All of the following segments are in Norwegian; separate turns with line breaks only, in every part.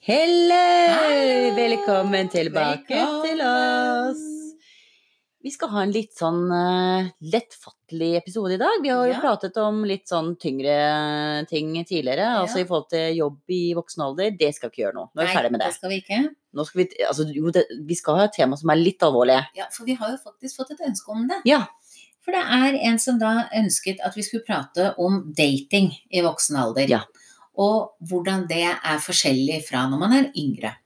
Hello!
Hallo!
Velkommen tilbake
Velkommen!
til oss. Vi skal ha en litt sånn eh, lettfattelig episode i dag. Vi har jo
Ja.
pratet om litt sånn tyngre eh, ting tidligere.
Ja.
Altså i forhold til jobb i voksen alder. Det skal vi ikke gjøre nå. Nå er vi ferdig med det.
skal vi ikke.
Nå skal vi, altså, jo, det, vi skal ha et tema som er litt alvorlig.
Ja, For vi har jo faktisk fått et ønske om det.
Ja.
For det er en som da ønsket at vi skulle prate om dating i voksen alder.
Ja.
Og hvordan det er forskjellig fra når man er yngre.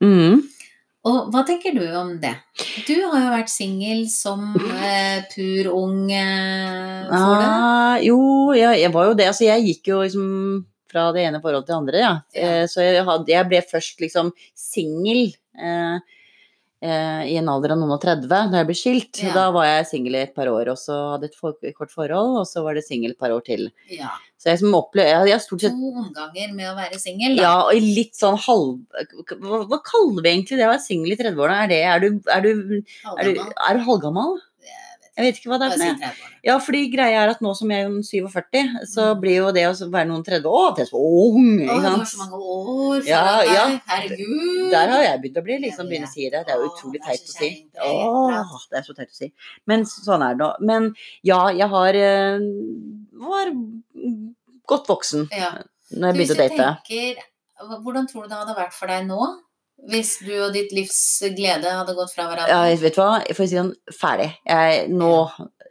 Og hva tenker du om det? Du har jo vært singel som eh, pur ung eh, for det.
Ah, jo, jeg, jeg var jo det. Altså, jeg gikk jo liksom fra det ene forholdet til det andre, ja.
Ja.
Eh, så jeg, hadde, jeg ble først liksom singel eh, eh, i en alder av noen og 30, da jeg ble skilt.
Ja.
Da var jeg singel i et par år, og så hadde jeg et for, et kort forhold, og så var det singel et par år til.
Ja.
Så jeg, som opple- jeg, jeg har stort
To
sett
omganger med å være singel. da.
ja, og i litt sånn halv... Hva, hva kaller vi egentlig det å være singel i 30-årene? Er, det- er, du- er, du- er, du-
Halvgammel.
er du halvgammal? Jeg vet ikke hva det er
Bare
for
si
noe.
30 år.
Ja, fordi greia er at nå som jeg er en 47, så
Mm.
blir jo det å være noen 30 Å, det er så ung!
Å,
Ikke
du har så
sant?
mange år foran
Ja,
deg.
ja.
Herregud.
Der har jeg begynt å bli,
Jeg
liksom,
vet.
begynne å si det. Det er jo
Å,
utrolig
det er
teit å
så
si.
kjerringprat.
Åh, det er så teit å si. Men så- sånn er det nå. Men ja, jeg har eh, var godt voksen
ja.
når jeg
Du,
begynte å
hvis
date.
jeg tenker, hva- Hvordan tror du det hadde vært for deg nå? Hvis du og ditt livs glede hadde gått fra
Ja,
hverandre?
vet du hva, for å si sånn, ferdig. Jeg, nå,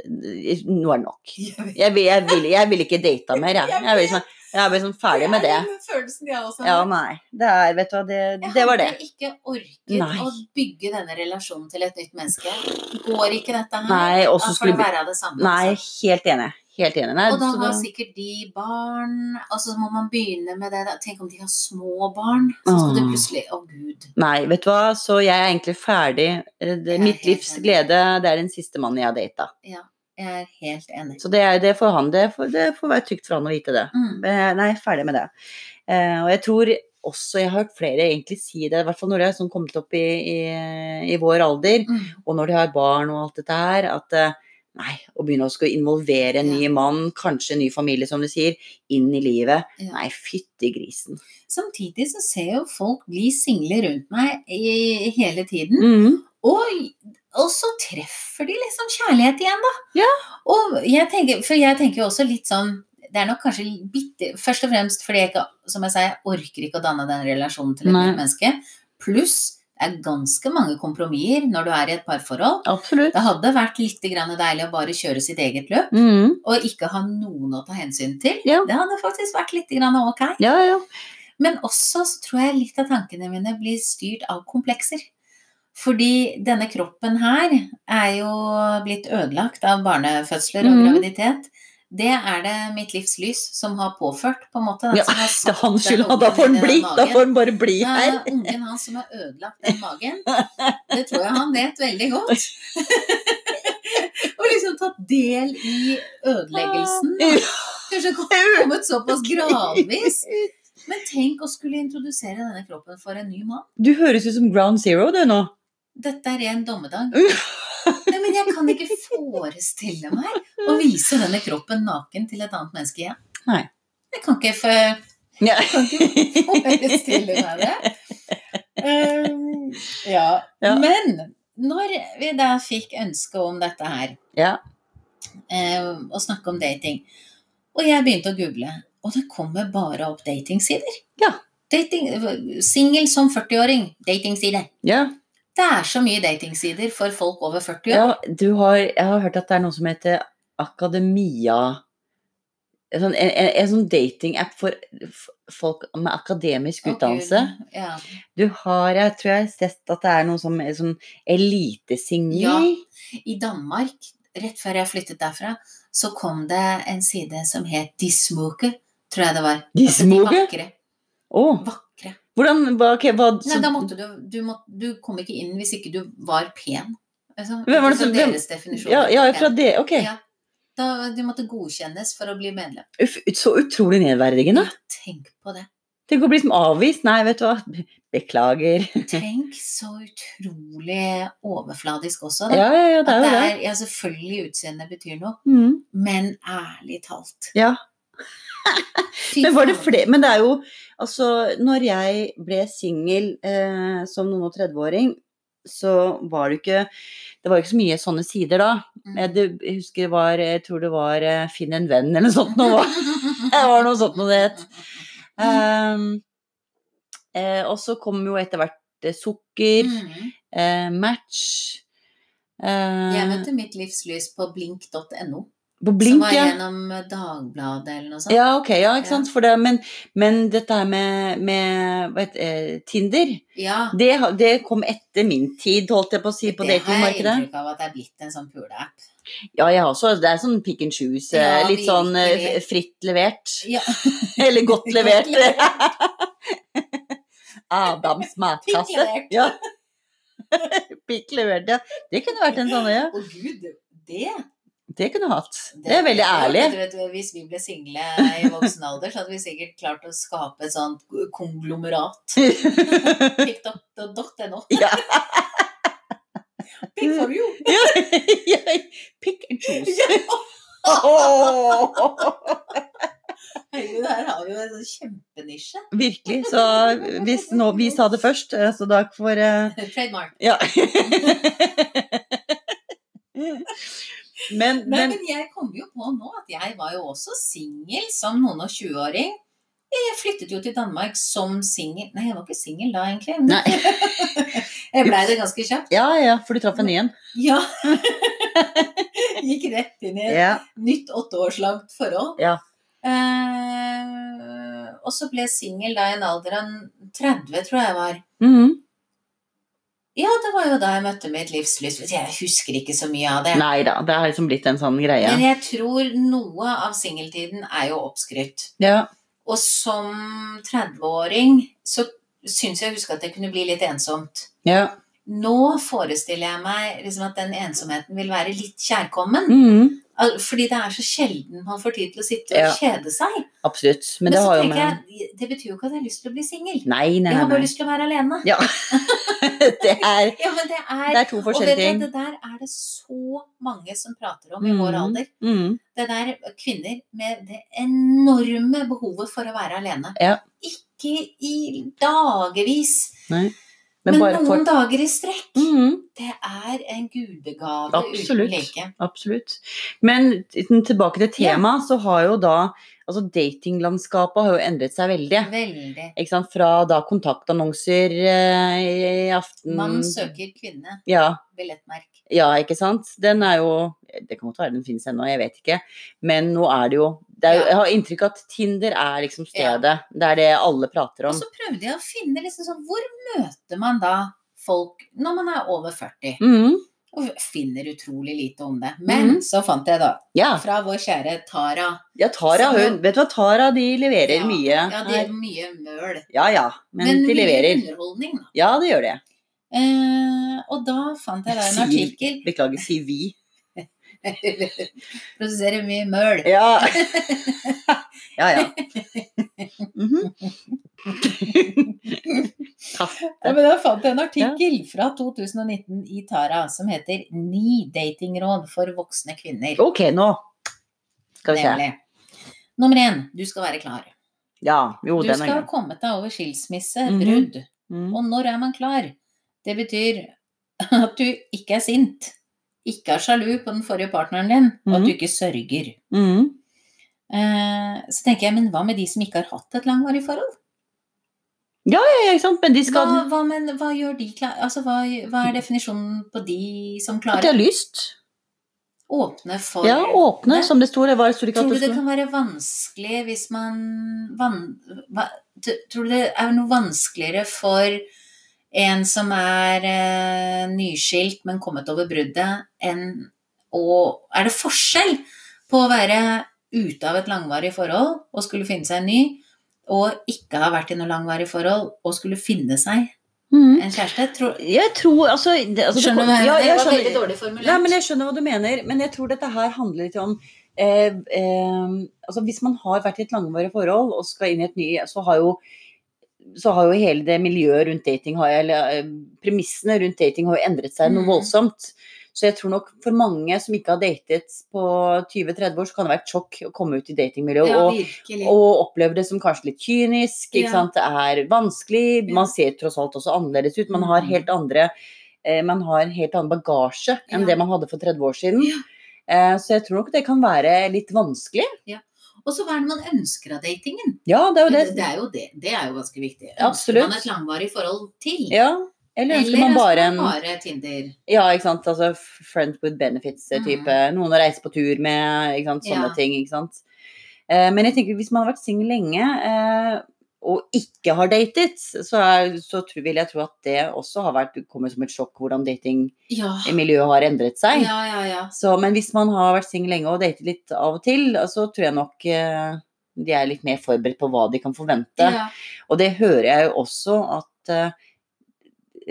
nå er det nok. Jeg vil, jeg vil, jeg vil ikke date mer, jeg. Jeg, vil, sånn- jeg er bare sånn ferdig med det.
er den følelsen jeg også
Ja,
har.
nei. Det er, vet du hva, det,
Jeg
det var det.
hadde ikke orket
Nei.
å bygge denne relasjonen til et nytt menneske. Går ikke dette her?
Nei, og
Da
så
får det
skulle vi
være det samme.
Nei,
altså.
helt enig. Helt enig. Nei,
Og da
så
har
da-
sikkert de barn, og så må man begynne med det. da. Tenk om de har små barn, så skal det
Åh.
plutselig Å, gud.
Nei, vet du hva, så jeg er egentlig ferdig. Eh,
Jeg
Det,
er
mitt
helt
livs
enig.
glede, det er den siste mannen jeg har data.
Jeg er helt enig.
Så det, er- det får han, det får, det får være trygt for han å vite det.
Mm.
Eh, Nei, ferdig med det. Eh, Og jeg tror også jeg har hørt flere egentlig si det, i hvert fall når de har sånn kommet opp i, i, i vår alder,
Mm.
og når de har barn og alt dette her, at eh, nei, å begynne å skulle involvere en ny
Ja.
mann, kanskje en ny familie, som du sier, inn i livet.
Ja.
Nei, fytti grisen.
Samtidig så ser jeg jo folk bli single rundt meg i, hele tiden.
Mm.
Og, og så treffer de liksom kjærlighet igjen, da.
Ja.
Og jeg tenker, for jeg tenker jo også litt sånn det er nok kanskje bitte, Først og fremst fordi jeg ikke som jeg sa, jeg orker ikke å danne den relasjonen til et
Nei.
nytt menneske. Pluss det er ganske mange kompromisser når du er i et parforhold.
Absolutt.
Det hadde vært litt grann deilig å bare kjøre sitt eget løp
Mm.
og ikke ha noen å ta hensyn til.
Ja.
Det hadde faktisk vært litt grann ok.
Ja, ja.
Men også så tror jeg litt av tankene mine blir styrt av komplekser. Fordi denne kroppen her er jo blitt ødelagt av barnefødsler og
Mhm.
graviditet. Det er det mitt livs lys som har påført, på en måte. den
Ja,
som har
Det
satt
er hans skyld,
den
ja, da får han
ungen i
bli.
den
Da
magen.
får han bare bli
Det
her.
er ungen hans som har ødelagt den magen. Det tror jeg han vet veldig godt. og liksom tatt del i ødeleggelsen.
Ah.
Kanskje kommet såpass gradvis. Men tenk å skulle introdusere denne kroppen for en ny mann.
Du høres ut som Ground Zero du nå.
Dette er ren dommedag. Nei, men jeg kan ikke forestille meg å vise denne kroppen naken til et annet menneske igjen.
Nei.
Jeg kan ikke for-
Ja.
jeg kan ikke forestille meg det. Ehm, ja.
Ja.
Men når vi da fikk ønske om dette her,
Ja.
ehm, å snakke om dating, og jeg begynte å google, og det kommer bare opp datingsider.
Ja.
Dating, Singel som 40-åring, datingside.
Ja.
Det er så mye datingsider for folk over 40 år.
ja du har, jeg har hørt at det er noe som heter Akademia. En sånn, en, en, en sånn datingapp for f- folk med akademisk
Å, Gud.
utdannelse.
Ja.
Du har, jeg tror jeg har sett at det er noe som er sånn elitesingel.
Ja. I Danmark, rett før jeg flyttet derfra, så kom det en side som het De Smukke, tror jeg det var.
De
Altså, De
smukke?
vakre.
Å,
vakre.
hvordan hva, ok, hva,
Nei,
så-
da måtte du, du, må- du kom ikke inn hvis ikke du var pen. Altså,
Hvem var det
ut
som-
fra
hvem-
Deres definisjon.
ja,
av
ja,
pen.
fra det, ok.
Ja. Da, du måtte godkjennes for å bli medlem.
Uff, så utrolig nedverdigende.
Tenk på det.
Tenk å bli som avvist. Nei, vet du hva. Be- Beklager.
Tenk så utrolig overfladisk også. Da.
Ja, ja, ja, det
At
er jo det.
ja, selvfølgelig utseendet betyr noe,
Mm.
men ærlig talt.
Ja.
Fy
Men var det
faen.
flere Men det er jo Altså, når jeg ble singel eh, som noen og 30-åring, så var det jo ikke Det var jo ikke så mye sånne sider da.
Mm.
Jeg, det, jeg husker det var Jeg tror det var eh, Finn en venn eller noe sånt. Noe. Det var noe sånt noe det het.
Mm.
Ehm, eh, og så kom jo etter hvert eh, sukker,
Mm.
eh, match eh,
Jeg møtte mitt livslys på blink.no,
På
som
blink,
var
ja.
gjennom Dagbladet eller noe sånt.
Ja, ok, ja, ikke
Ja.
sant. For det, men, men dette her med, med hva heter, eh, Tinder,
Ja,
det, har- det kom etter min tid, holdt jeg på å si, på
det har jeg
datingmarkedet.
inntrykk av at det er blitt en sånn pule-app.
Ja, jeg har også. Det er sånn pick and choose. eh,
Ja,
litt sånn eh, f-
virkelig.
fritt levert.
Ja.
Eller godt
Godt
levert.
levert.
Adams matkasse.
Pikk levert.
Ja. Pikk levert, ja. Det kunne vært en sånn øye.
Å gud, det
Det kunne jeg hatt. Det er veldig ærlig.
Jeg tror at Hvis vi ble single i voksen alder, så hadde vi sikkert klart å skape et sånt konglomerat. TikTok.no.
Ja.
Pick for you!
Pick and choose.
Ja.
Åh!
Herregud, her har vi jo en sånn kjempenisje.
Virkelig. Så hvis nå, vi sa det først, eh, så da får eh,
Trademark.
Ja. Men,
Nei,
men
men jeg kom jo på nå at jeg var jo også singel som noen og 20-åring. Jeg flyttet jo til Danmark som singel. Nei, jeg var ikke singel da, egentlig. men
Nei.
Jeg blei det ganske kjapt.
Ja, ja, for du traff en ny en.
Ja. Gikk rett inn i et
Ja.
nytt åtteårslangt forhold.
Ja.
Eh, og så ble jeg singel da i en alder av 30, tror jeg var.
Mhm.
Ja, det var jo da jeg møtte mitt livslyst. Jeg husker ikke så mye av det.
Nei da, det har liksom blitt en sånn
Men
greie.
jeg tror noe av singeltiden er jo oppskrytt.
Ja.
Og som 30-åring så syns jeg å huske at det kunne bli litt ensomt.
ja.
Nå forestiller jeg meg liksom at den ensomheten vil være litt kjærkommen.
Mhm.
Al- Fordi det er så sjelden man får tid til å sitte og
Ja.
kjede seg.
Absolutt. Men
Men,
det
så
har jo
tenker
med
jeg, det betyr jo ikke at jeg har lyst til å bli singel.
Nei, nei,
Jeg har
nei.
bare
nei.
lyst til å være alene.
Ja. Det er,
Ja, men det er,
det er to
Og vet
forskjellige
du, at
ting.
det der er det så mange som prater om i vår
Mhm.
alder.
Mhm.
Det der kvinner med det enorme behovet for å være alene.
Ja.
Ikke i dagevis, men,
Men bare
noen
for
dager i strekk.
Mhm.
Det er en gudegave
Absolutt.
uten like.
Absolutt. Men uten- tilbake til
Ja.
temaet, så har jo da Altså, datinglandskapet har jo endret seg veldig.
Veldig.
Ikke sant? Fra da kontaktannonser eh, i aften
Mann søker kvinne,
Ja.
billettmerk.
Ja, ikke sant. Den er jo Det kan godt være den finnes ennå, jeg vet ikke. Men nå er det jo, det er jo
Ja.
Jeg har inntrykk av at Tinder er liksom stedet. Det er det alle prater
Og
om.
så prøvde jeg å finne liksom sånn, hvor møter man da folk når man er over 40?
Mhm,
Og finner utrolig lite om det. Men
Mhm.
så fant jeg da,
ja.
fra vår kjære Tara
ja, Tara
Så-
hun Vet du hva, Tara de leverer
Ja,
mye.
Ja, det
her.
er mye møl.
ja, ja. Men, de
mye
leverer.
underholdning, da.
Ja, det gjør det.
Eh, og da fant jeg da en
Sier-
artikkel
Beklager, si vi.
Produserer mye møl.
Ja. ja, ja. Mhm.
Nei, men da fant jeg en artikkel fra 2019 i Tara som heter 'Ni datingråd for voksne kvinner'.
Ok, nå skal vi se.
Nemlig. Nummer én, du skal være klar.
Ja, jo, Oh,
Du
den
skal
er
ha
grei.
kommet deg over skilsmisse,
Mhm.
brudd.
Mhm.
Og når er man klar? Det betyr at du ikke er sint, ikke er sjalu på den forrige partneren din, og at du ikke sørger.
Mhm.
Eh, så tenker jeg, men hva med de som ikke har hatt et langvarig forhold?
Ja, ja, ikke sant, men de skal
Hva, hva, men, hva gjør de klar? Altså, hva, hva er definisjonen på de som
At de har
klarer
lyst.
åpne for
Ja, åpne,
Det-
som det sto. Det var, det sto ikke at
Tror du
det
det
sto.
kan være vanskelig hvis man van, hva, t- Tror du det er noe vanskeligere for en som er eh, nyskilt, men kommet over bruddet, enn å Er det forskjell på å være ute av et langvarig forhold og skulle finne seg en ny, og ikke ha vært i noe langvarig forhold og skulle finne seg
Mhm.
en kjæreste? Tror,
Jeg tror altså, det, altså det
skjønner du
kom-
hva jeg
ja,
mener?
jeg
Det var
skjønner.
veldig dårlig formulert.
Nei, men jeg skjønner hva du mener. Men jeg tror dette her handler litt om eh, eh, altså Hvis man har vært i et langvarig forhold og skal inn i et ny, så har jo så har jo hele det miljøet rundt dating, har, eller eh, premissene rundt dating har jo endret seg noe
Mm.
voldsomt. Så jeg tror nok for mange som ikke har datet på 20-30 år, så kan det være et sjokk å komme ut i datingmiljøet
Ja,
og,
virkelig.
og oppleve det som kanskje litt kynisk.
Ja.
Ikke sant? Det er vanskelig.
Ja.
Man ser tross alt også annerledes ut. Man har
Mm.
helt andre eh, man har en helt annen bagasje enn
Ja.
det man hadde for 30 år siden.
Ja.
Eh, så jeg tror nok det kan være litt vanskelig.
Og så hva er det man ønsker av datingen?
Ja, det er jo
Det,
det.
det er jo det. Det er jo ganske viktig. Ønsker
Absolutt.
man et langvarig forhold til?
Ja. Eller ønsker man bare en
bare Tinder?
Ja, ikke sant. Altså f- friend with benefits-type. Noen å reise på tur med, ikke sant. Sånne
Mm. Ja.
ting, ikke sant. Eh, men jeg tenker hvis man har vært singel lenge eh, og ikke har datet, så, er, så tr- vil jeg tro at det også har vært, kommer som et sjokk hvordan datingmiljøet
Ja.
har endret seg.
Ja, ja, ja.
Så, men hvis man har vært singel lenge og datet litt av og til, så tror jeg nok eh, de er litt mer forberedt på hva de kan forvente.
ja.
Og det hører jeg jo også at eh,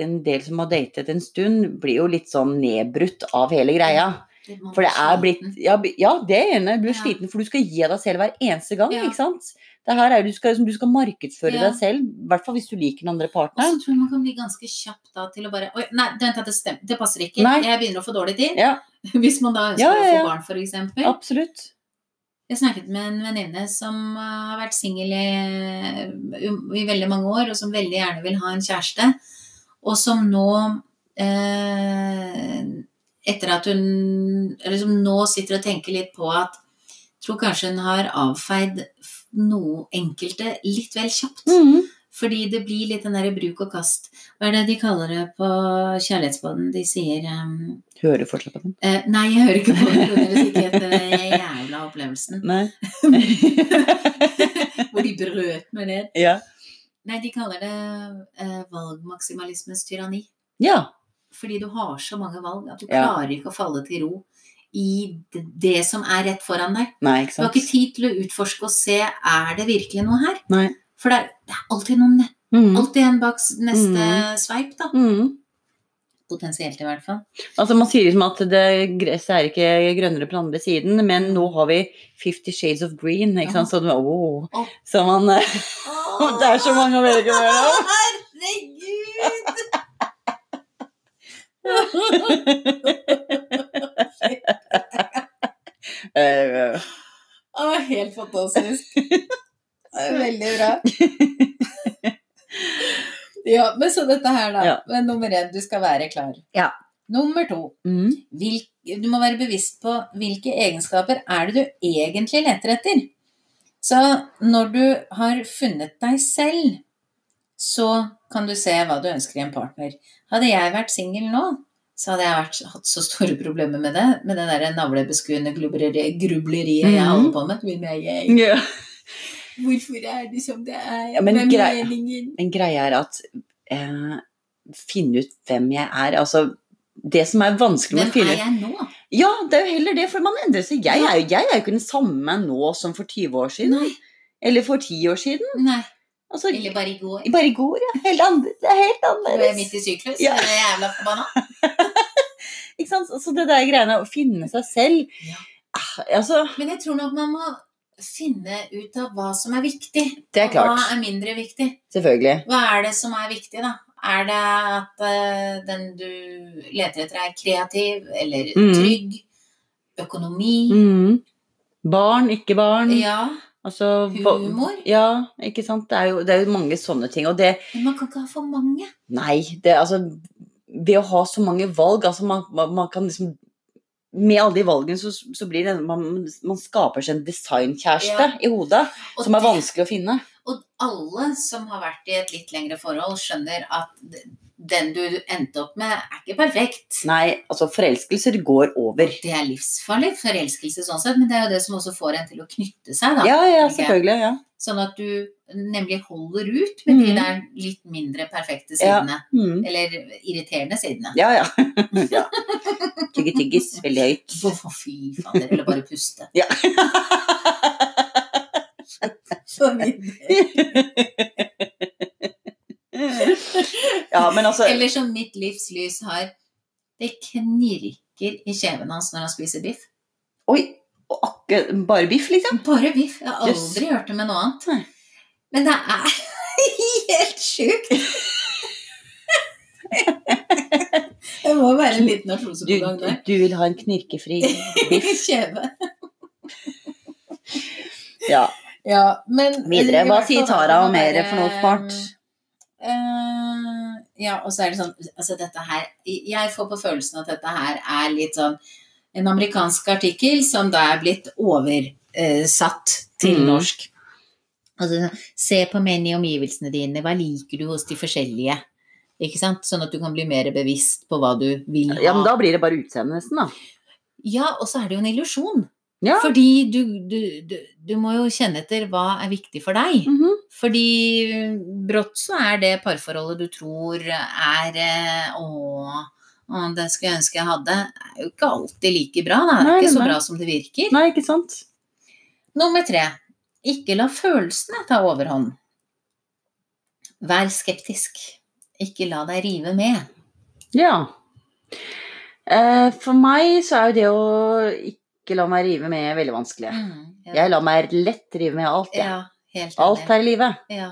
en del som har datet en stund, blir jo litt sånn nedbrutt av hele greia.
man
For det
blir
er blitt
sliten.
Ja, b- ja det er enig. Du blir
Ja.
sliten, for du skal gi av deg selv hver eneste gang,
Ja.
ikke sant? Det her er jo, du, skal, liksom, du skal markedsføre
Ja.
deg selv, i hvert fall hvis du liker den andre
Og så
partneren.
tror jeg man kan bli ganske kjapp da til å bare Oi, nei, vent, det stemmer. Det passer ikke.
Nei.
Jeg begynner å få dårlig tid.
Ja.
Hvis man da ønsker
Ja, ja,
å
ja.
få barn, for eksempel.
Absolutt.
Jeg snakket med en venninne som uh, har vært singel i, eh, um, i veldig mange år, og som veldig gjerne vil ha en kjæreste. Og som nå eh, Etter at hun eller som nå sitter og tenker litt på at Tror kanskje hun har avfeid f- noe enkelte litt vel kjapt.
Mhm.
Fordi det blir litt den derre bruk og kast. Hva er det de kaller det på Kjærlighetsbåten? De sier ehm,
Hører du fortsatt på den?
eh, Nei, jeg hører ikke på det. for Det er ikke etter den jævla opplevelsen
Nei.
hvor de brøt meg ned.
ja.
Nei, de kaller det eh, valgmaksimalismens tyranni.
ja.
Fordi du har så mange valg at du
Ja.
klarer ikke å falle til ro i d- det som er rett foran deg.
Nei, ikke
Du har
sant.
ikke tid til å utforske og se er det virkelig noe her.
Nei.
For det er, det er alltid noe ne-
Mhm.
alltid en bak s- neste
Mm.
sveip, da.
Mhm.
Potensielt, i hvert fall.
Altså Man sier liksom at det gresset er ikke grønnere på den andre siden, men nå har vi 'Fifty Shades of Green'. ikke sant? Så, det- åh.
Åh.
så man, eh, Det er så mange å velge mellom.
Herregud!
Eh,
Å, helt fantastisk. Det er Veldig bra. Ja, men så dette her, da.
Ja.
Men nummer én, du skal være klar.
Ja.
Nummer to,
mm.
hvil, du må være bevisst på hvilke egenskaper er det du egentlig leter etter. Så når du har funnet deg selv, så kan du se hva du ønsker i en partner. Hadde jeg vært singel nå, så hadde jeg vært, hatt så store problemer med det. Med det der navlebeskuende grubleri- grubleriet jeg
Mhm.
holder på med. Hvem er jeg?
Ja.
Hvorfor er det som det er?
Ja, men
Hvem
grei-
er meningen?
Men greia er at eh, finne ut hvem jeg er. Altså, det som er vanskelig med å
Hvem
finne
er jeg nå?
Ja, det er jo heller det, for man endrer seg. Jeg
Ja.
er jo, jeg er jo ikke den samme nå som for 20 år siden.
Nei.
Eller for 10 år siden.
Nei,
Altså,
eller bare i går.
bare i går, ja. Helt andre, det er helt
Nå er jeg
annerledes.
midt i syklus,
Ja.
så jeg er jævla forbanna.
Ikke sant? Så det der greiene å finne seg selv
Ja.
Ah, Altså,
Men jeg tror nok man må finne ut av hva som er viktig.
det er
Og
klart.
hva er mindre viktig?
Selvfølgelig.
Hva er det som er viktig, da? Er det at eh, den du leter etter er kreativ, eller
Mhm.
trygg? Økonomi?
Mm. Barn, ikke barn.
Ja.
Altså, hva-
Humor?
Ja, ikke sant. Det er, jo, det er jo mange sånne ting. Og det
Men man kan ikke ha for mange.
Nei, det altså Ved å ha så mange valg, altså man, man, man kan liksom Med alle de valgene så, så blir det man, man skaper seg en designkjæreste
Ja.
i hodet
Og
som er
det-
vanskelig å finne.
Og alle som har vært i et litt lengre forhold, skjønner at d- den du endte opp med, er ikke perfekt.
Nei, altså forelskelser går over.
Det er livsfarlig forelskelse sånn sett, men det er jo det som også får en til å knytte seg, da.
Ja, ja,
tenker jeg.
selvfølgelig. Ja.
Sånn at du nemlig holder ut med de
Mhm.
der litt mindre perfekte
Ja.
sidene.
Mm.
Eller irriterende sidene.
Ja, ja. ja. Tygge tyggis veldig høyt.
Å, fy fader. Eller bare puste.
Ja.
For min del.
Ja, men altså
Eller som mitt livs lys har Det knirker i kjeven hans når han spiser biff.
Oi! og Akke, bare biff, liksom?
Bare biff. Jeg har
Jøss.
aldri hørt det med noe annet.
Nei.
Men det er helt sjukt. Jeg må bare Bare en liten nasjon
Du,
på gang der.
du vil ha en knirkefri biff.
Kjeve.
Ja.
Ja, men
Videre,
i
hva
hvert
sier
fall er
Tara
det
og Mere for noe
der,
smart?
eh, ja, og så er det sånn Altså, dette her Jeg får på følelsen at dette her er litt sånn en amerikansk artikkel som da er blitt oversatt til
Mm.
norsk. Altså, se på menn i omgivelsene dine, hva liker du hos de forskjellige? Ikke sant? Sånn at du kan bli mer bevisst på hva du vil ha.
Ja, men da blir det bare utseendet nesten, da.
Ja, og så er det jo en illusjon.
Ja.
Fordi du, du, du, du må jo kjenne etter hva er viktig for deg.
Mhm.
Fordi brått så er det parforholdet du tror er eh, Å, å det skulle jeg ønske jeg hadde. Det er jo ikke alltid like bra. Da. Det
Nei,
er ikke så
nei.
bra som det virker.
Nei, ikke sant?
Nummer tre. Ikke la følelsene ta overhånd. Vær skeptisk. Ikke la deg rive med.
Ja. Eh, for meg så er jo det å ikke la meg rive med veldig vanskelig.
ja,
Mm. Jeg lar meg lett rive med alt, jeg.
Mm. ja, helt
Alt
enig.
her i livet.
Ja.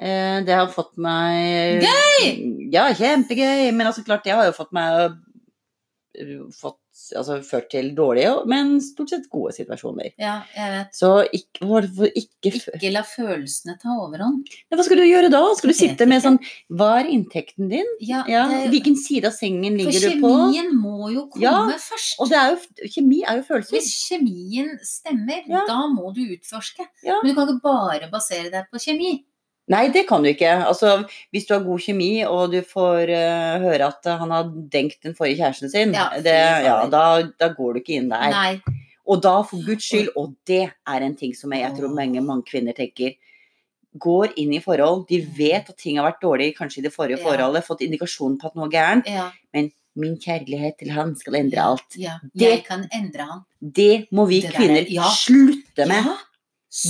Eh, det har fått meg
Gøy!
Ja, kjempegøy. Men altså, klart, det har jo fått meg eh, fått, altså, ført til dårlige, men stort sett gode situasjoner.
ja, jeg vet.
Så ikke, hvorfor ikke f-
Ikke la følelsene ta overhånd.
Ja, Hva skal du gjøre da? Skal du
Jeg vet
sitte med
ikke.
sånn Hva er inntekten din?
Ja,
Ja,
det-
hvilken side av sengen
for
ligger du på?
kjemien må jo komme
Ja,
først.
Og det er jo, kjemi er jo følelser.
Hvis kjemien stemmer,
Ja.
da må du utforske.
Ja.
Men du kan ikke bare basere deg på kjemi.
Nei, det kan du ikke. Altså, hvis du har god kjemi, og du får eh, høre at han har denkt den forrige kjæresten sin,
Ja, fy
det, ja,
fader.
da, da går du ikke inn der.
Nei.
Og da, for guds skyld, og det er en ting som jeg, jeg tror mange, mange kvinner tenker Går inn i forhold, de vet at ting har vært dårlig, kanskje i det forrige
Ja.
forholdet, fått indikasjon på at noe er gærent.
Ja,
Min kjærlighet til han skal endre alt.
ja.
Det-
Jeg kan endre han.
Det må vi
Det der er-
kvinner
ja.
slutte med.
Ja,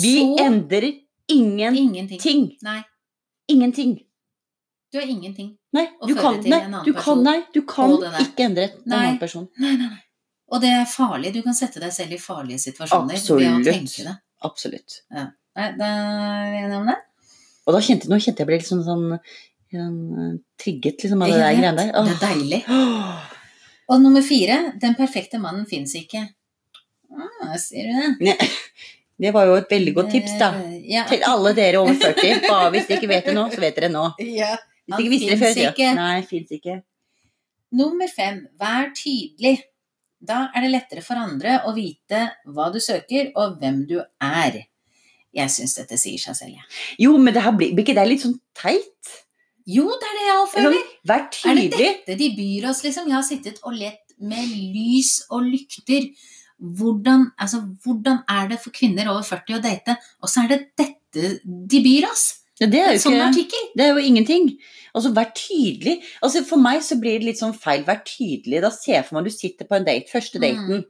Vi
så
endrer ingenting.
ingenting. Nei,
Ingenting.
du er ingenting.
Nei,
Og
du
føre
kan,
til
nei,
en annen
du kan,
person.
nei, du kan
Og det der.
ikke endre en
Nei.
annen person.
Nei, nei, nei. Og det er farlig. Du kan sette deg selv i farlige situasjoner
Absolutt.
ved å tenke det.
Absolutt.
Nei, da er vi enige om det.
Og da kjente, nå kjente jeg ble litt sånn, sånn, sånn eh, trigget liksom, av det der
Jeg
greiene
vet.
der.
Det er deilig.
Åh.
Og nummer fire, den perfekte mannen fins ikke. Ah, sier du det?
Nei, Det var jo et veldig godt tips, da.
Det- Ja.
Til alle dere over 40. Bare hvis dere ikke vet det nå, så vet dere nå.
ja.
Hvis
Han
dere ikke visste det før,
finnes
sier
ikke.
dere, Nei, fins ikke.
Nummer fem, vær tydelig. Da er det lettere for andre å vite hva du søker, og hvem du er. Jeg syns dette sier seg selv, jeg.
Jo, men det her blir blir ikke det litt sånn teit?
Jo, det er det jeg også
Sånn,
føler.
Vær
Er det
tydelig.
dette de byr oss, liksom? Jeg har sittet og lett med lys og lykter. Hvordan, altså, hvordan er det for kvinner over 40 å date, og så er det dette de byr oss?
Ja, Det er
En
jo
sånn
ikke
artikkel.
Det er jo ingenting. Altså, vær tydelig. Altså, for meg så blir det litt sånn feil. Vær tydelig. Da ser jeg for meg du sitter på en date, første
Mm.
daten.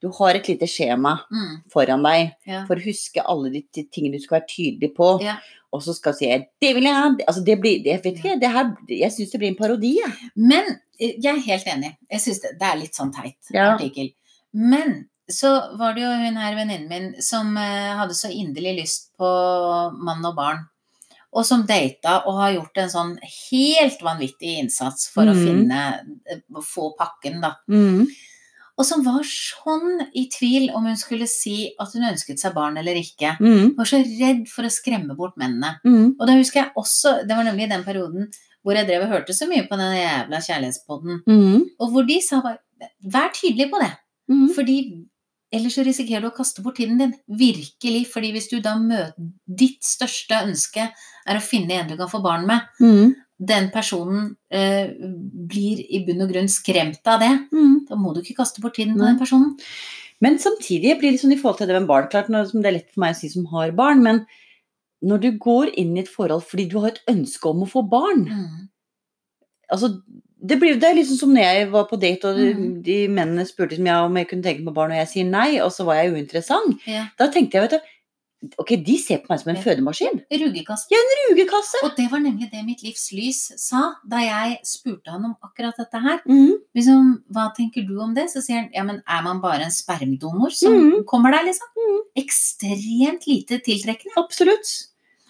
Du har et lite skjema
Mm.
foran deg
Ja.
for å huske alle de ti- tingene du skal være tydelig på.
Ja.
Og så skal du si 'det vil jeg ha'. Altså, det blir, det, vet ikke,
Ja.
jeg, det her, jeg syns det blir en parodi. jeg.
Men eh, jeg er helt enig. Jeg syns det, det er litt sånn teit
Ja.
artikkel. Men så var det jo hun her venninnen min som eh, hadde så inderlig lyst på mann og barn. Og som data og har gjort en sånn helt vanvittig innsats for å
Mhm.
finne eh, få pakken, da.
Mm,
Og som var sånn i tvil om hun skulle si at hun ønsket seg barn eller ikke.
Mm.
Var så redd for å skremme bort mennene.
Mm.
Og da husker jeg også, det var nemlig i den perioden hvor jeg drev og hørte så mye på den jævla kjærlighetspodden,
Mm.
og hvor de sa bare Vær tydelig på det,
Mm.
fordi ellers så risikerer du å kaste bort tiden din. Virkelig. fordi hvis du da møter Ditt største ønske er å finne en du kan få barn med.
Mm.
Den personen eh, blir i bunn og grunn skremt av det.
Mm.
Da må du ikke kaste bort tiden på
Nei.
den personen.
Men samtidig jeg blir det sånn i forhold til det med barn, klart nå som det er lett for meg å si som har barn, men når du går inn i et forhold fordi du har et ønske om å få barn,
Mm.
altså, det, blir, det er liksom som når jeg var på date, og
Mhm.
de mennene spurte som jeg om jeg kunne tenke meg barn, og jeg sier nei, og så var jeg uinteressant.
Ja.
Da tenkte jeg, vet du, ok, de ser på meg som en
Ja.
fødemaskin.
Rugekast.
Rugekasse!
Og det var nemlig det mitt livs lys sa da jeg spurte han om akkurat dette her.
Mm.
liksom, hva tenker du om det? Så sier han, ja, men er man bare en spermdonor som
Mhm.
kommer der, liksom? Ekstremt lite tiltrekkende.
Absolutt.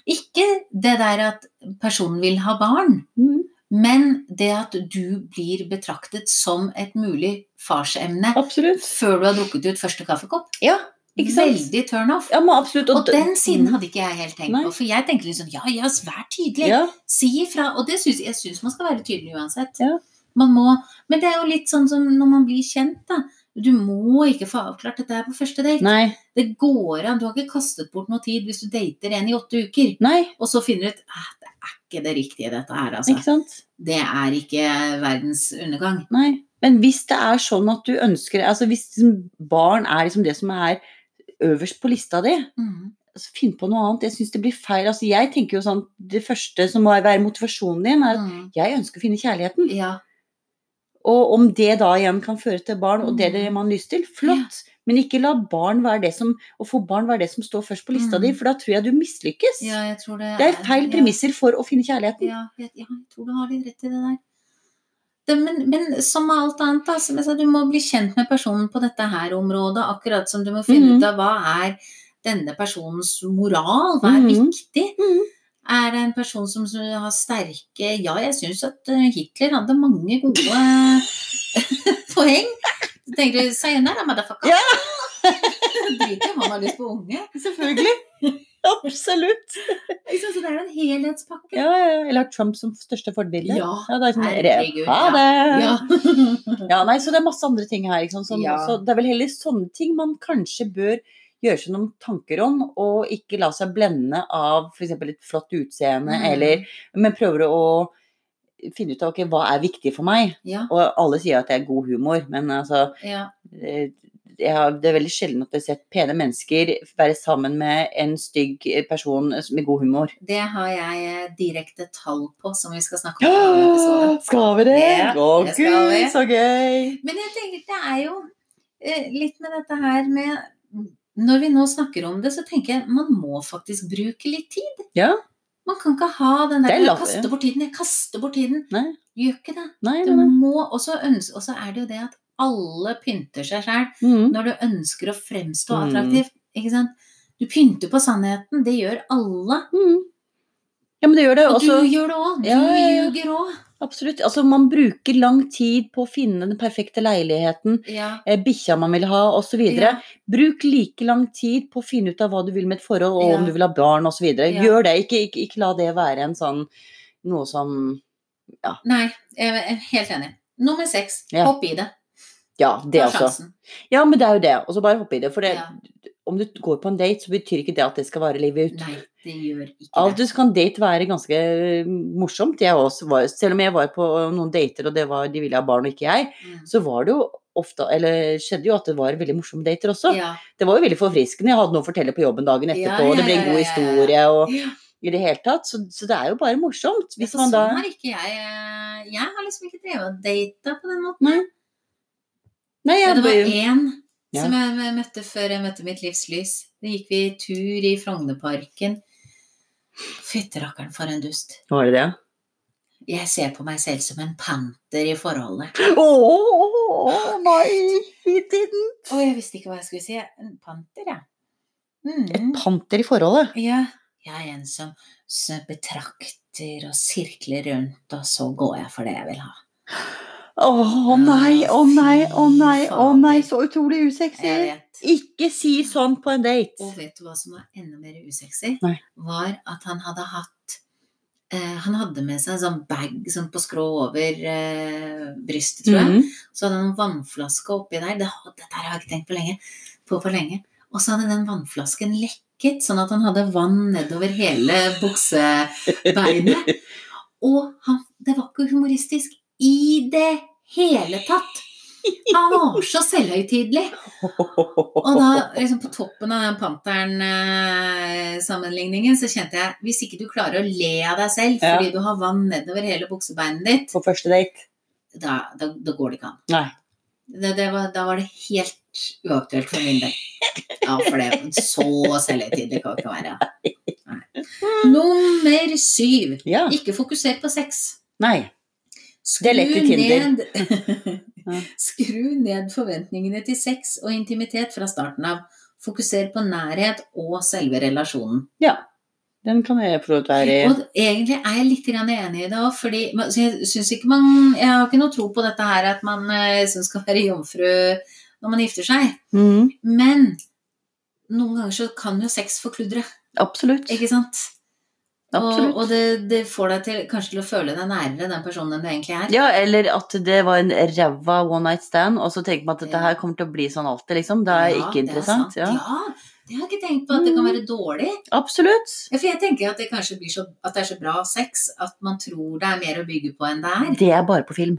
Ikke det der at personen vil ha barn,
Mm.
Men det at du blir betraktet som et mulig farsemne
Absolutt.
før du har drukket ut første kaffekopp,
Ja, ikke sant?
veldig turn off.
Ja, men absolutt.
Og
d- Mm.
den siden hadde ikke jeg helt tenkt
Nei.
på, for jeg tenkte liksom ja, ja, vær tydelig.
ja,
Si ifra. Og det synes, jeg syns man skal være tydelig uansett.
Ja.
Man må, men det er jo litt sånn som når man blir kjent, da. Du må ikke få avklart dette her på første date.
Nei.
Det går an. Du har ikke kastet bort noe tid hvis du dater en i åtte uker,
Nei,
og så finner du ut at det er ikke det riktige, dette her, altså.
ikke sant?
Det er ikke verdens undergang.
Nei. Men hvis det er sånn at du ønsker Altså hvis liksom barn er liksom det som er øverst på lista di, altså finn på noe annet. Jeg syns det blir feil. Altså jeg tenker jo sånn Det første som må være motivasjonen din, er at
Mm.
jeg ønsker å finne kjærligheten.
Ja.
Og om det da igjen kan føre til barn og
Mm.
det, er det man har lyst til, flott. Men ikke la barn være det som Å få barn være det som står først på lista
Mm.
di, for da tror jeg du mislykkes.
ja, jeg tror det
Det er feil premisser for å finne kjærligheten.
Ja, jeg, ja, jeg tror du har litt rett i det der. Det, men, men som med alt annet, da, som jeg sa, du må bli kjent med personen på dette her området. Akkurat som du må finne
Mhm.
ut av hva er denne personens moral, hva er
Mhm.
viktig?
Mhm.
Er det en person som som har sterke Ja, jeg syns at eh, Hitler hadde mange gode poeng. Så tenker du Sayonara, motherfucker.
Ja.
Driter i om han har lyst på unge.
Selvfølgelig. Absolutt.
Ikke sant? Så det er jo en helhetspakke.
Ja, ja, ja. Eller har Trump som største forbilde.
Ja.
Ja, det er sånn,
Herregud,
ha
ja.
det! Ja.
Ja.
nei, så det er masse andre ting her. Ikke sant? Som,
Ja.
så det er vel heller sånne ting man kanskje bør gjøre seg noen tanker om, og ikke la seg blende av f.eks. et flott utseende,
Mm.
eller Men prøver å finne ut av ok, hva er viktig for meg.
Ja.
Og alle sier at det er god humor, men altså
ja.
eh, jeg har, Det er veldig sjelden at jeg har sett pene mennesker være sammen med en stygg person med god humor.
Det har jeg eh, direkte tall på, som vi skal snakke om. i en annen
Ja,
episode.
skal vi det?
Ja,
Å
det skal
gud,
vi.
så gøy!
Men jeg tenker det er jo eh, litt med dette her med Når vi nå snakker om det, så tenker jeg man må faktisk bruke litt tid.
Ja.
Man kan ikke ha den
Det
der
er
jeg
lov-
kaster bort tiden, jeg kaster bort tiden.
Nei.
Gjør ikke det.
Nei,
Du
nei, nei.
må også ønske Og så er det jo det at alle pynter seg sjæl
Mm.
når du ønsker å fremstå
Mm.
attraktiv. Ikke sant? Du pynter på sannheten. Det gjør alle.
Mm. Ja, men det gjør det.
Og
Også,
du gjør det òg. Du
Ja, ja, ja.
ljuger òg.
absolutt. Altså, man bruker lang tid på å finne den perfekte leiligheten,
Ja.
eh, bikkja man vil ha, osv.
Ja.
Bruk like lang tid på å finne ut av hva du vil med et forhold, og
Ja.
om du vil ha barn osv. videre
Ja.
Gjør det. Ikke, ikke, ikke la det være en sånn noe som
Nei, jeg er helt enig. Nummer seks,
Ja.
hopp i det.
Ja, det
Ta
også.
sjansen.
Ja, men det er jo det. Og så bare hoppe i det. For det,
Ja.
om du går på en date, så betyr ikke det at det skal vare livet ut.
Nei, det gjør ikke
Av og
det.
til så kan date være ganske eh, morsomt. Jeg også var, selv om jeg var på eh, noen dater, og det var, de ville ha barn og ikke jeg,
Mm.
så var det jo ofte, eller skjedde jo at det var veldig morsomme dater også.
Ja.
Det var jo veldig forfriskende. Jeg hadde noe å fortelle på jobben dagen etterpå,
Ja, ja,
og det ble en
ja,
god
ja, ja, ja.
historie og
Ja,
i det hele tatt. Så, så det er jo bare morsomt. Hvis
for
man da
sånn har ikke jeg eh, Jeg har liksom ikke drevet og data på den måten.
Nei. Nei,
Men
jeg
det var
bare
én
Ja.
som jeg møtte før jeg møtte mitt livs lys. Da gikk vi tur i Frognerparken. Fytti rakkeren, for en dust.
Var det det?
Jeg ser på meg selv som en panter i forholdet.
Ååå, nei! He didn't!
Og jeg visste ikke hva jeg skulle si. En panter, ja. Mm.
Et panter i forholdet.
Ja. Jeg er en som s- betrakter og sirkler rundt, og så går jeg for det jeg vil ha.
Å nei, å nei, å nei, å nei, så utrolig
Jeg
usexy.
vet.
Ikke si sånn på en date.
Og vet du hva som var enda mer usexy?
Nei.
Var at han hadde hatt eh, Han hadde med seg en sånn bag sånn på skrå over eh, brystet, tror jeg.
Mhm.
Så hadde han en vannflaske oppi der. Det, har- dette her har jeg ikke tenkt på lenge. På for lenge. Og så hadde den vannflasken lekket, sånn at han hadde vann nedover hele buksebeinet. Og han, det var ikke humoristisk i det hele tatt. Han var så selvhøytidelig. Og da, liksom på toppen av den Panteren-sammenligningen, så kjente jeg hvis ikke du klarer å le av deg selv
Ja.
fordi du har vann nedover hele buksebeinet ditt,
På første date.
da, da, da går det ikke an.
Nei.
Det, det var, da var det helt uaktuelt for min del. Ja, for det så selvhøytidelig kan det ikke være. Nei. Nummer syv.
Ja.
Ikke fokuser på sex.
Nei. Det er lett i
Skru
Tinder. Ja.
Ned, skru ned forventningene til sex og intimitet fra starten av. Fokuser på nærhet og selve relasjonen.
Den kan jeg for så vidt være i.
Og egentlig er jeg litt grann enig i det òg, fordi man- så jeg syns ikke man Jeg har ikke noe tro på dette her at man eh, liksom skal være jomfru når man gifter seg.
Mhm,
Men noen ganger så kan jo sex forkludre,
absolutt.
ikke sant?
absolutt.
Og, og det, det får deg til kanskje til å føle deg nærere den personen enn du egentlig er.
Ja, eller at det var en ræva one night stand, og så tenker man at dette
Ja.
her kommer til å bli sånn alltid, liksom. Det er
Ja,
ikke interessant.
Det er
ja. Mm.
sant. ja. Det har jeg ikke tenkt på, at det kan være dårlig.
Absolutt.
Ja, For jeg tenker at det kanskje blir så, at det er så bra sex at man tror det er mer å bygge på enn det er.
Det er bare på film.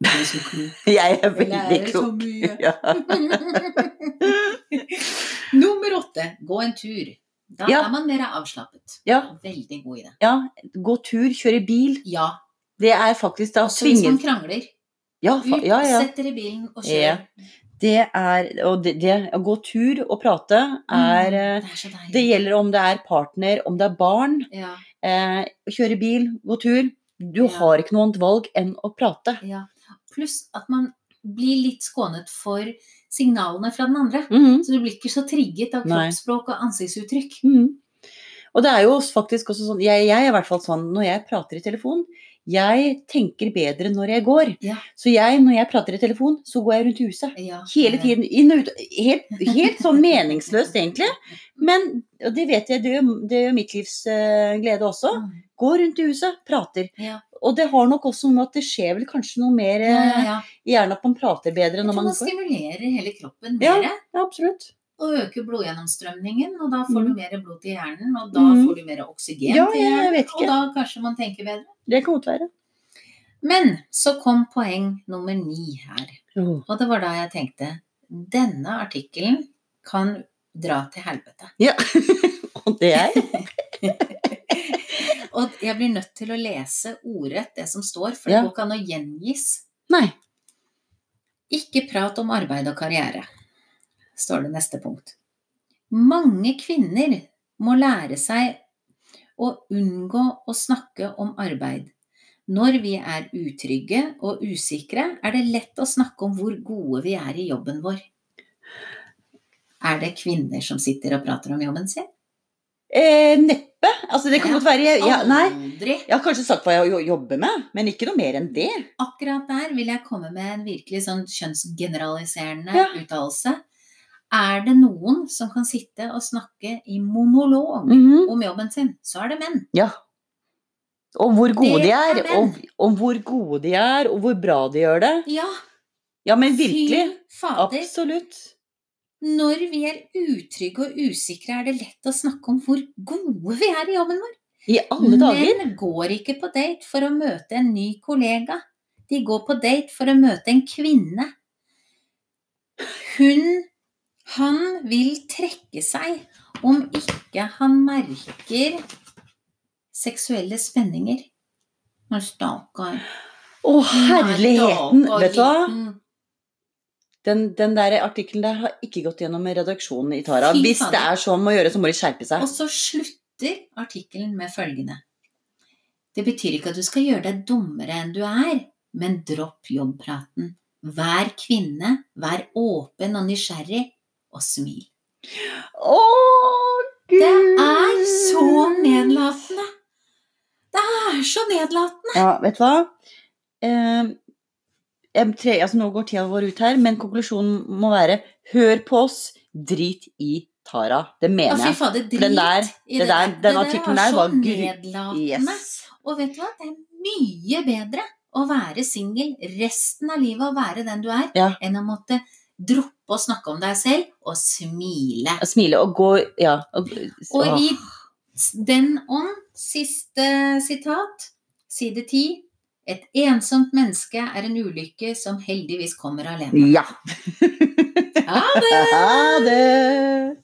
Det er så klokt.
Jeg er
Jeg
veldig
lærer så
klok.
mye.
Ja.
Nummer åtte gå en tur. Da
Ja.
er man mer avslappet.
ja,
Veldig god i det.
ja. Gå tur, kjøre bil.
Ja.
Det er faktisk da
Også hvis
svinger
man krangler.
ja,
Ut,
fa- ja, ja.
sett dere i bilen og
Ja.
kjør.
Det er Og det, det å gå tur og prate
Mm.
er eh,
Det er så deilig.
Det gjelder om det er partner, om det er barn.
Ja,
Eh, kjøre bil, gå tur. Du
Ja.
har ikke noe annet valg enn å prate.
ja. Pluss at man blir litt skånet for signalene fra den andre.
Mhm.
Så du blir ikke så trigget av
Nei.
kroppsspråk og ansiktsuttrykk.
Mhm. Og det er jo også faktisk også sånn jeg, jeg er i hvert fall sånn når jeg prater i telefon. Jeg tenker bedre når jeg går.
Ja.
Så jeg, når jeg prater i telefon, så går jeg rundt i huset.
Ja,
Hele
det-
tiden inn og ut. Helt, helt sånn meningsløst, egentlig. Men og det vet jeg, det gjør, det gjør mitt livs eh, glede også.
Mm.
Går rundt i huset, prater.
Ja.
Og det har nok også noe at det skjer vel kanskje noe mer
Ja, ja,
eh,
ja.
Gjerne at man prater bedre
Jeg
når
tror
man
man
går.
stimulerer hele kroppen
Ja.
mer.
Ja, absolutt.
Og øker blodgjennomstrømningen, og da får du
Mm.
mer blod til hjernen, og da
Mm.
får du mer oksygen
Ja,
til
jeg
hjernen,
vet ikke.
og da kanskje man tenker bedre.
Det kan godt være.
Men så kom poeng nummer ni her, og det var da jeg tenkte denne artikkelen kan dra til helvete.
Ja. Og det er
Og jeg blir nødt til å lese ordrett det som står, for
Ja.
det går ikke an å gjengis.
Nei.
Ikke prat om arbeid og karriere, står det neste punkt. Mange kvinner må lære seg å unngå å snakke om arbeid. Når vi er utrygge og usikre, er det lett å snakke om hvor gode vi er i jobben vår. Er det kvinner som sitter og prater om jobben sin?
Eh, neppe. Altså, det kan
Ja.
godt være jeg, ja, Nei.
Aldri!
Jeg har kanskje sagt hva jeg jo- jobber med, men ikke noe mer enn det.
Akkurat der vil jeg komme med en virkelig sånn kjønnsgeneraliserende
Ja.
uttalelse. Er det noen som kan sitte og snakke i
Mm.
monolog om jobben sin, så er det menn.
Ja. Og hvor gode
Det
de
er
er. Og, og hvor gode de er, og hvor bra de gjør det.
Ja,
Ja, men virkelig.
Fy fader.
Absolutt.
Når vi er utrygge og usikre, er det lett å snakke om hvor gode vi er i jobben vår.
I alle dager.
Menn går ikke på date for å møte en ny kollega. De går på date for å møte en kvinne. Hun, han vil trekke seg om ikke han merker seksuelle spenninger. Men Stakkar.
Å, herligheten.
Stakkar
Vet du hva?
liten.
Den, den der artikkelen der har ikke gått gjennom redaksjonen i Tara.
Fy
Hvis
fader.
det er sånn å gjøre, så må de skjerpe seg.
Og så slutter artikkelen med følgende. Det betyr ikke at du skal gjøre deg dummere enn du er, men dropp jobbpraten. Vær kvinne, vær åpen og nysgjerrig, og smil.
Å, gud!
Det er så nedlatende! Det er så nedlatende!
Ja, vet du hva? Eh, em, tre, altså nå går tida vår ut her, men konklusjonen må være hør på oss, drit i Tara. Det
Å,
mener
fy
jeg.
fader, drit
den der-
i
det der- den artikkelen der var
Det
gru-
der er så nedlatende.
Yes.
Og vet du hva, det er mye bedre å være singel resten av livet og være den du er,
Ja.
enn å måtte droppe å snakke om deg selv og smile.
Og Smile og gå Ja. Og,
Og
åh,
i s- den ånd, siste sitat, side ti Et ensomt menneske er en ulykke som heldigvis kommer alene.
Ja.
Ha det!
Ha det!